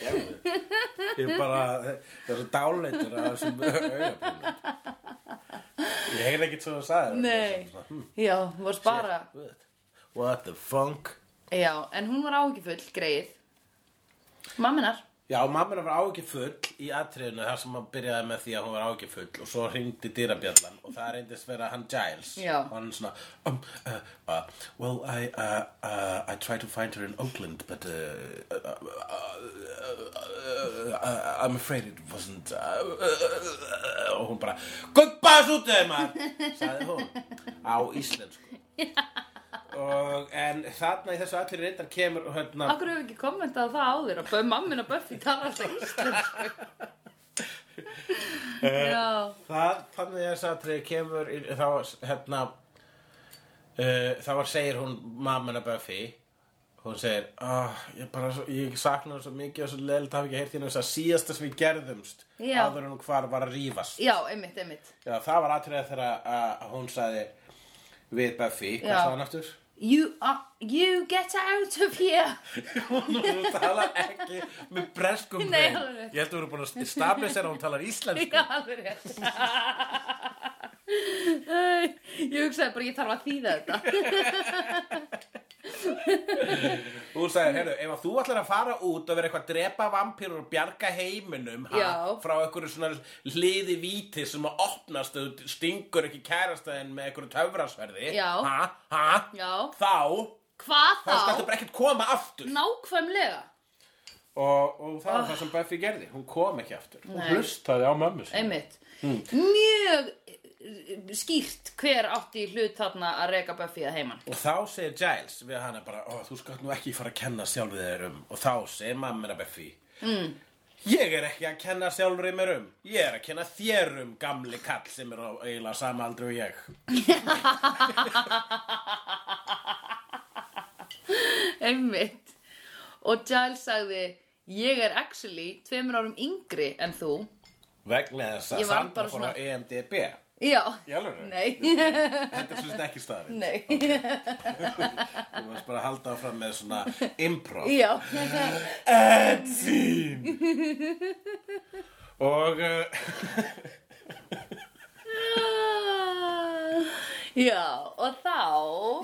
Speaker 1: ég bara það er svo dáleitur að þessum [laughs] augabrúnum Ég heyrði ekkert svo að sagði
Speaker 2: Nei [laughs] Já, hún varst bara
Speaker 1: What the funk
Speaker 2: Já, en hún var áhyggjufull, greið Mamminar
Speaker 1: Já, mamma hennar var áhyggjufull í atriðinu þar sem hann byrjaði með því að hún var áhyggjufull og svo hringdi dyrabjallan og það reyndist vera hann Giles
Speaker 2: Já.
Speaker 1: og hann svona um, uh, uh, Well, I, uh, uh, I tried to find her in Oakland but uh, uh, uh, uh, uh, I'm afraid it wasn't uh, uh, uh, og hún bara Gubbas út þeim maður sagði hún á íslensku og, en þarna í þessu allir reyndar kemur hérna,
Speaker 2: Akkur hefur ekki kommentað það áður að mammin og Buffy tala alltaf íslensku Já,
Speaker 1: Það, þannig þess að þegar kemur í- þá, hérna uh, þá var segir hún mamma Buffy hún segir oh, ég, bara, svo- ég sakna hún svo mikið og svo leilt hafi ekki heyrt hérna þess að síðasta sem við gerðumst
Speaker 2: Já.
Speaker 1: áður en hún hvar var að rífast
Speaker 2: já, einmitt, einmitt
Speaker 1: Já, það var atriða þegar að- að hún sagði við Buffy, hvað
Speaker 2: Já.
Speaker 1: sagði hann aftur? [laughs]
Speaker 2: You, are, you get out of here
Speaker 1: hún hún talar ekki með breskum
Speaker 2: Nei,
Speaker 1: hreim.
Speaker 2: alveg rétt.
Speaker 1: ég held að hún er búin að stabla sér að hún talar íslensku
Speaker 2: Já, alveg rétt Ég hugsaði bara, ég þarf að þýða þetta
Speaker 1: Þú sagði, heyrðu, ef að þú ætlar að fara út og vera eitthvað að drepa vampýrur og bjarga heiminum ha,
Speaker 2: Já.
Speaker 1: frá einhverju svona hliði víti sem að opnast og þú stingur ekki kærastæðin með einhverju töfrasverði
Speaker 2: Já.
Speaker 1: ha, ha,
Speaker 2: Já,
Speaker 1: þá
Speaker 2: hvað
Speaker 1: þá skaltu
Speaker 2: þá?
Speaker 1: bara ekkert koma aftur
Speaker 2: Nákvæmlega
Speaker 1: og, og það var það sem Buffy gerði hún kom ekki aftur hún
Speaker 2: Ah. Nei.
Speaker 1: hlustaði á mömmu sinni
Speaker 2: Einmitt Mjög eh, skýrt hver átti í hlut þarna að reka Buffy að heiman
Speaker 1: og þá segir Giles við hana bara Ó, þú skalt nú ekki fara að kenna sjálfið þér um og þá segir mamma Buffy mm. ég er ekki að kenna sjálfrið mér um ég er að kenna þér um gamli kall sem er á eiginlega sama aldri og ég
Speaker 2: Einmitt Og Giles sagði Ég er actually tveimur árum yngri en þú
Speaker 1: vegna þess að
Speaker 2: Ég var
Speaker 1: Sandra
Speaker 2: bara
Speaker 1: fór á E
Speaker 2: svona-
Speaker 1: EMDB
Speaker 2: Já
Speaker 1: Í alvöru?
Speaker 2: Nei, [laughs]
Speaker 1: þetta er svolítið ekki staðarinn
Speaker 2: nei
Speaker 1: þú varst bara að halda áfram með
Speaker 2: [laughs]
Speaker 1: svona improv
Speaker 2: Já
Speaker 1: Edzín
Speaker 2: [laughs]
Speaker 1: og uh,
Speaker 2: Ah. Já, og þá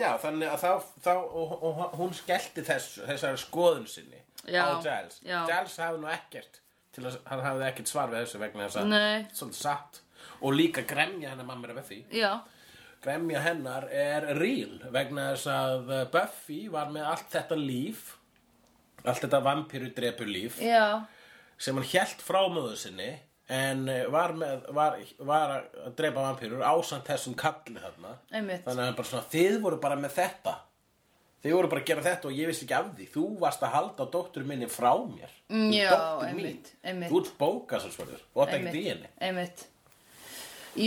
Speaker 1: já þannig að þá, þá og, og, og hún skellti þessu þessari skoðun sinni
Speaker 2: Já,
Speaker 1: á Giles
Speaker 2: já.
Speaker 1: Giles hafði nú ekkert til að hann hafði ekkert svar við þessu vegna þess að
Speaker 2: Nei.
Speaker 1: svolítið satt og líka gremja hennar mamma er með því
Speaker 2: Já,
Speaker 1: gremja hennar er real vegna þess að uh, Buffy var með allt þetta líf allt þetta vampíru drepur líf
Speaker 2: já
Speaker 1: sem hann hjælt frá möðu sinni en eh, var, með, var, var að drepa vampýrur ásamt þessum kalli þarna
Speaker 2: Einmitt.
Speaker 1: þannig að hann bara svona, þið voru bara með þetta þið voru bara að gera þetta og ég vissi ekki af því þú varst að halda dóttur minni frá mér
Speaker 2: Mm,
Speaker 1: Þú
Speaker 2: já,
Speaker 1: ert dóttir
Speaker 2: einmitt,
Speaker 1: mín.
Speaker 2: einmitt.
Speaker 1: þú ert bóka sem svörður og þetta ekki í henni
Speaker 2: einmitt, einmitt.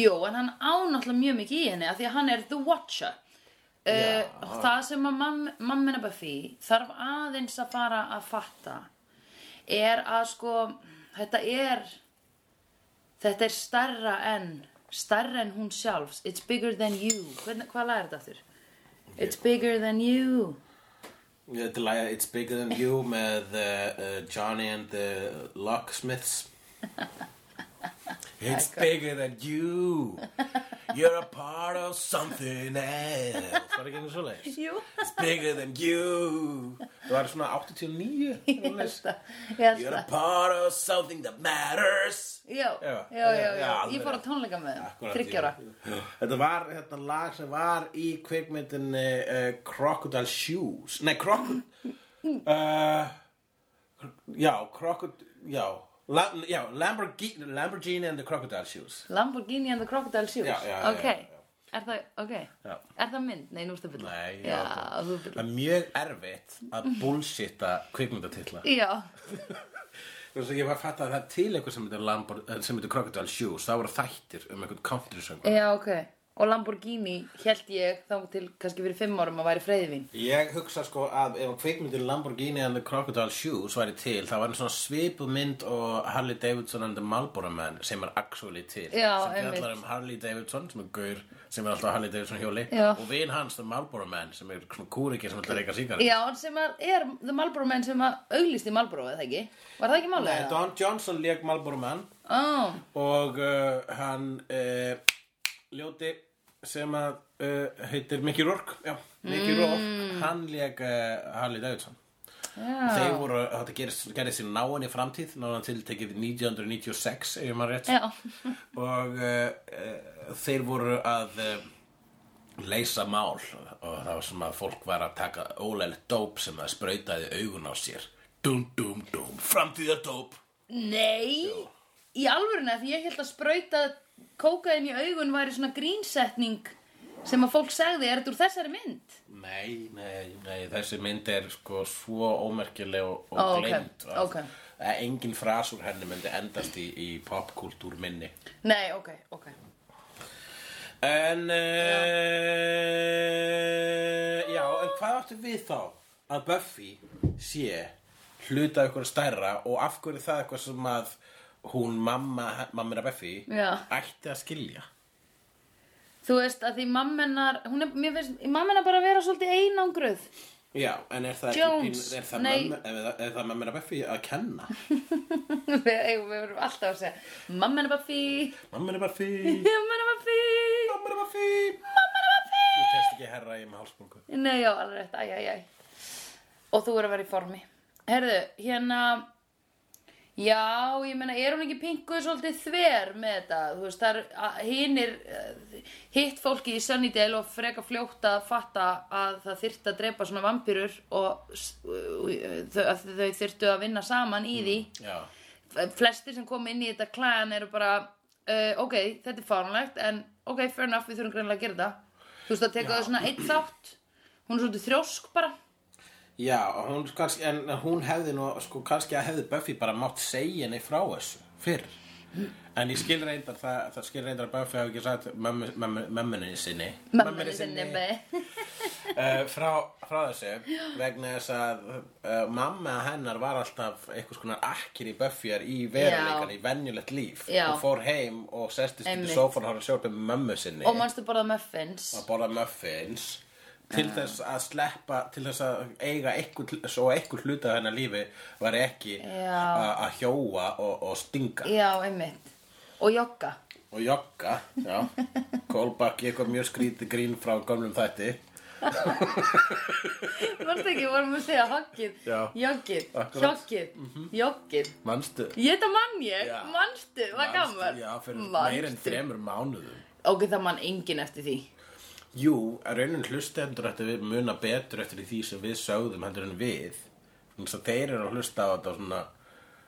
Speaker 2: Jú, en hann á náttúrulega mjög mikið í henni af því að hann er The Watcher uh,
Speaker 1: Já.
Speaker 2: og það sem að mamm- mammina Buffy þarf aðeins að fara að fatta er að sko þetta er þetta er stærra en stærra en hún sjálfs it's bigger than you Hvern, hvað lærir þetta aftur? it's bigger than you
Speaker 1: Þetta laga It's Bigger Than You með uh, uh, Johnny and the Locksmiths It's bigger than you You're a part of something else Var ekki einhvern svo leiðis?
Speaker 2: Jú,
Speaker 1: It's bigger than you Það var svona 89
Speaker 2: ég held
Speaker 1: eitthvað svoleiðis.
Speaker 2: að ég held
Speaker 1: You're a
Speaker 2: að-
Speaker 1: part of something that matters
Speaker 2: Já, já,
Speaker 1: Já,
Speaker 2: já,
Speaker 1: já,
Speaker 2: já,
Speaker 1: já, alveg
Speaker 2: ég fór
Speaker 1: rétt.
Speaker 2: að tónleika með þeim,
Speaker 1: Akkúrat,
Speaker 2: þryggjara
Speaker 1: já. Þetta var þetta lag sem var í kvikmyndinni uh, Crocodile Shoes Nei,
Speaker 2: [laughs]
Speaker 1: Crocodile uh, Já, Crocodile Já, La, já Lamborghini, Lamborghini and the Crocodile Shoes
Speaker 2: Lamborghini and the Crocodile Shoes
Speaker 1: Já, já, já,
Speaker 2: Ok,
Speaker 1: já, já.
Speaker 2: er það, ok
Speaker 1: Já.
Speaker 2: Er það mynd? Nei, nú ertu að byrja
Speaker 1: Nei,
Speaker 2: já,
Speaker 1: já,
Speaker 2: þú ert að
Speaker 1: Það er mjög erfitt að
Speaker 2: [laughs]
Speaker 1: bullshitta kvikmyndatitla
Speaker 2: byrja Já,
Speaker 1: Þú veist, ég var að fatta að það er til eitthvað sem heitir Lambor- eh, sem heitir Crocodile Shoes Það voru þættir um einhvern country söngur
Speaker 2: já, ok Og Lamborghini held ég þá til kannski fyrir fimm árum að væri freyðvin
Speaker 1: Ég hugsa sko að ef kvikmyndin Lamborghini and the Crocodile Shoes væri til þá var hann svona svipuð mynd og Harley Davidson and the Marlboro Man sem er actually til
Speaker 2: Já,
Speaker 1: sem
Speaker 2: einmitt.
Speaker 1: fjallar um Harley Davidson sem er gaur sem er alltaf á Harley Davidson hjóli
Speaker 2: Já.
Speaker 1: og vin hans the Marlboro Man sem er svona kúriki sem ætlar að reyka síkar
Speaker 2: Já, en sem að er The Marlboro menn sem að auglýst í Marlboro, eða ekki? Var það ekki málið? það?
Speaker 1: Eh, Don Johnson leik Marlboro Man
Speaker 2: Ó,
Speaker 1: og uh, hann uh, ljóti sem að eh,
Speaker 2: Mm.
Speaker 1: uh, heitir Mickey Rourke já, Mickey Rourke, hann leik uh, eh, Harley Davidson
Speaker 2: Já.
Speaker 1: Þeir voru, þetta gerist, gerist í náinni framtíð, náðan tiltekið 1996, ef ég maður rétt.
Speaker 2: Já.
Speaker 1: [laughs] Og uh, uh, þeir voru að uh, leysa mál og það var sem að fólk var að taka ólega dóp sem það sprautaði augun á sér. Dum, dum, dum, framtíðardóp.
Speaker 2: Nei, í alvöruna því ég held að sprauta kókaðin í augun væri svona grínsetning sem að fólk sagði, er þetta úr þessari mynd?
Speaker 1: Nei, nei, nei, þessi mynd er sko svo ómerkileg og, og
Speaker 2: Ó,
Speaker 1: oh,
Speaker 2: ok,
Speaker 1: gleymd að-
Speaker 2: ok.
Speaker 1: að engin fras úr henni myndi endast í, í popkultúr minni.
Speaker 2: Nei, ok, ok.
Speaker 1: En, uh, já, en hvað áttu við þá að Buffy sé hluta ykkur stærra og af hverju það er eitthvað sem að hún mamma, mamma er að Buffy
Speaker 2: Já.
Speaker 1: ætti að skilja?
Speaker 2: Þú veist að því mammenar, hún er, mér finnst, mammenar bara vera svolítið einangruð. [laughs]
Speaker 1: Já, en er það,
Speaker 2: Jones,
Speaker 1: er það,
Speaker 2: nei.
Speaker 1: mömmu, er það, er það mamma er að Buffy að
Speaker 2: [laughs]
Speaker 1: kenna?
Speaker 2: við, eigum- við verum alltaf að segja mammenar Buffy,
Speaker 1: Mamma er að Buffy...
Speaker 2: mammenar Buffy.
Speaker 1: Mamma er Buffy Mamma er Buffy Þú kemst ekki herra í með hálsbólgu
Speaker 2: Nei, já, alveg rétt, æj, æj, æj. Og þú er að vera í formi. Herðu, hérna, já, ég meina, er hún ekki pinguð svolítið þver með þetta? Þú veist, þar, hinnir, hitt fólki í Sunnydale og freka fljótt að fatta að það þyrfti að drepa svona vampýrur og s- eh, þau, að þau þyrftu að vinna saman í því.
Speaker 1: Já
Speaker 2: flestir sem kom inn í þetta klæðan eru bara uh, ok, þetta er fáránlegt en ok, fair enough, við þurfum greinlega að gera þetta þú veist að teka það svona eitt þátt hún er svolítið þrjósk bara
Speaker 1: Já, og hún, kannski, en hún hefði nú, sko, kannski að hefði Buffy bara mátt segja henni frá þessu fyrr En ég skil reyndar, það, það skil reyndar að Buffy hafi ekki sagt mömmu- mömmu- mömmunni sinni
Speaker 2: Mömmunni sinni be.
Speaker 1: uh, frá, frá þessu vegna þess að uh, mamma hennar var alltaf einhvers konar akkir í Buffyar í veruleikan,
Speaker 2: Já.
Speaker 1: í venjulegt líf
Speaker 2: Já.
Speaker 1: Hún fór heim og sestist upp
Speaker 2: Einmitt.
Speaker 1: í sófann og horfði að sjá upp með mömmu sinni
Speaker 2: og mannstu borða muffins
Speaker 1: að borða muffins til þess að sleppa til þess að eiga einhver, svo einhver hluta af hennar lífi var ekki
Speaker 2: Já.
Speaker 1: a- að hjóa og, og stinga
Speaker 2: já, einmitt, og jogga
Speaker 1: og jogga já. Kolbakki, eitthvað mjög skrítið grín frá gömlum þætti
Speaker 2: mannstu ekki, vorum við að segja hoggið
Speaker 1: Já.
Speaker 2: joggið,
Speaker 1: Akkurat.
Speaker 2: joggið, joggið
Speaker 1: manstu
Speaker 2: ég þetta mann ég,
Speaker 1: Já.
Speaker 2: mannstu, var gaman
Speaker 1: já, fyrir meir en
Speaker 2: Manstu.
Speaker 1: þremur mánuðum
Speaker 2: ok, það mann engin eftir því
Speaker 1: Jú, að raunin hlustendur ættu við muna betur eftir því sem við sögðum hendur en við þannig að þeir eru að hlusta á þetta svona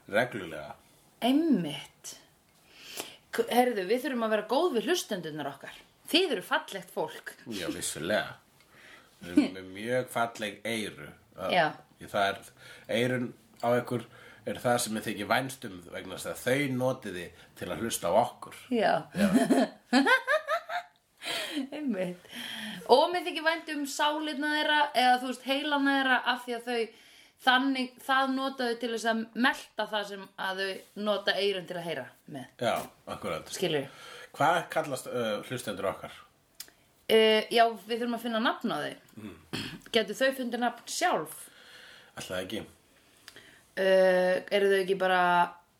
Speaker 1: reglulega
Speaker 2: Einmitt. K- Heyrðu, við þurfum að vera góð við hlustendunar okkar. Þið eru fallegt fólk.
Speaker 1: Já, vissulega.
Speaker 2: [laughs]
Speaker 1: Við erum með mjög falleg eyru. Það-
Speaker 2: Já.
Speaker 1: Ég- Það er, eyrun á ykkur er það sem ég þykir vænstum vegna þess að þau notiði til að hlusta á okkur.
Speaker 2: Já. [laughs] Einmitt. Og mér þykir vænt um sálirna þeirra eða þú veist heilana þeirra af því að þau þannig, það notaðu til þess að melta það sem að þau nota eyrun til að heyra með.
Speaker 1: Já, akkurat.
Speaker 2: Skilur við?
Speaker 1: Hvað kallast uh, hlustendur okkar?
Speaker 2: Eh, já, við þurfum að finna nafn á þau. Mm. Getur þau fundið nafn sjálf?
Speaker 1: Alltaf ekki.
Speaker 2: Uh, eru þau ekki bara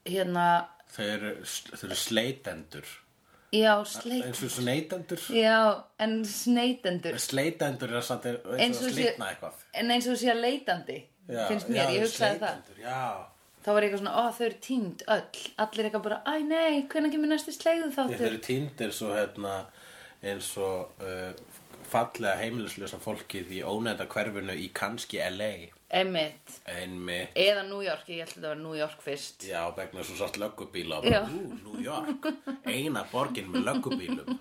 Speaker 2: hérna,
Speaker 1: Þau eru, þau eru sleitendur.
Speaker 2: já, sleit
Speaker 1: Eins og sneitendur.
Speaker 2: Já, en sneitendur
Speaker 1: Sleitendur er samt eins og,
Speaker 2: Eins
Speaker 1: eins
Speaker 2: og
Speaker 1: og
Speaker 2: sé-
Speaker 1: slitna eitthvað.
Speaker 2: En eins og sé að leitandi
Speaker 1: Já,
Speaker 2: Finnst mér,
Speaker 1: já,
Speaker 2: ég hugsaði það
Speaker 1: sleitendur, Já,
Speaker 2: Þá var ég eitthvað svona, ó þau eru týnd öll Allir eitthvað bara, æ nei, hvenær kemur næstu slegðu
Speaker 1: Þetta
Speaker 2: þáttur
Speaker 1: eru týndir svo hérna eins og uh, fallega heimilislösa fólkið í ónæta hverfinu í kannski LA
Speaker 2: Einmitt,
Speaker 1: einmitt,
Speaker 2: eða New York, ég held að þetta var New York fyrst
Speaker 1: já, vegna svo sátt löggubíla og
Speaker 2: Já.
Speaker 1: bara, ú, New York eina borgin með löggubílum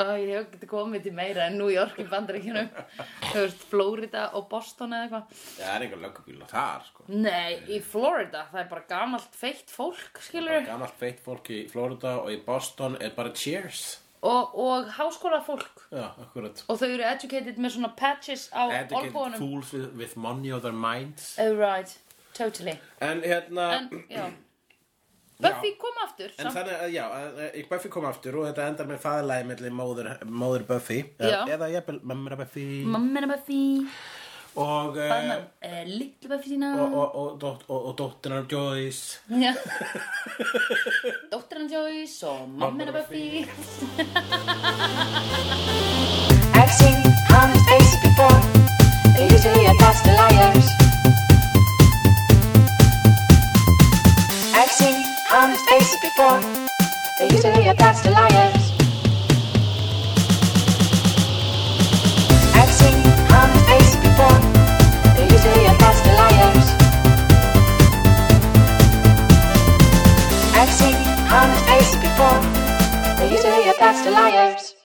Speaker 2: Ó, ég hef getið komið til meira en New York í bandaríkjunum
Speaker 1: [laughs]
Speaker 2: Þú veist, Florida og Boston eða eitthvað
Speaker 1: það er einhver löggubíla þar sko
Speaker 2: Nei, í Florida, það er bara gamalt feitt fólk, skilur
Speaker 1: gamalt feitt fólk í Florida og í Boston er bara cheers
Speaker 2: og, og háskóla fólk
Speaker 1: já, akkurat
Speaker 2: Og þau eru educated með svona patches á
Speaker 1: Educate
Speaker 2: olbúanum
Speaker 1: fools with, with money on their minds
Speaker 2: Oh right, totally
Speaker 1: en hérna
Speaker 2: [clears throat] En, já Buffy kom aftur
Speaker 1: En
Speaker 2: samt.
Speaker 1: þannig að, já, að, að að Buffy kom aftur og þetta endar með faðalæði mellir móður, móður Buffy
Speaker 2: Já.
Speaker 1: eða, eða jafnvel mömmur að Buffy
Speaker 2: Mamma hennar Buffy
Speaker 1: og,
Speaker 2: Þannig
Speaker 1: uh,
Speaker 2: að uh, litlu Buffy sína
Speaker 1: og, og, og, dótt, og, og dóttinar Joyce
Speaker 2: [laughs] Já Dóttir hann Joyce og mamma hennar Buffy
Speaker 3: I've seen honest faces before. They usually They're master liars. I've seen honest faces before. They're usually a master liars. I've seen honest faces before. They're usually a master liars. I've seen honest faces before. They're usually a master liars.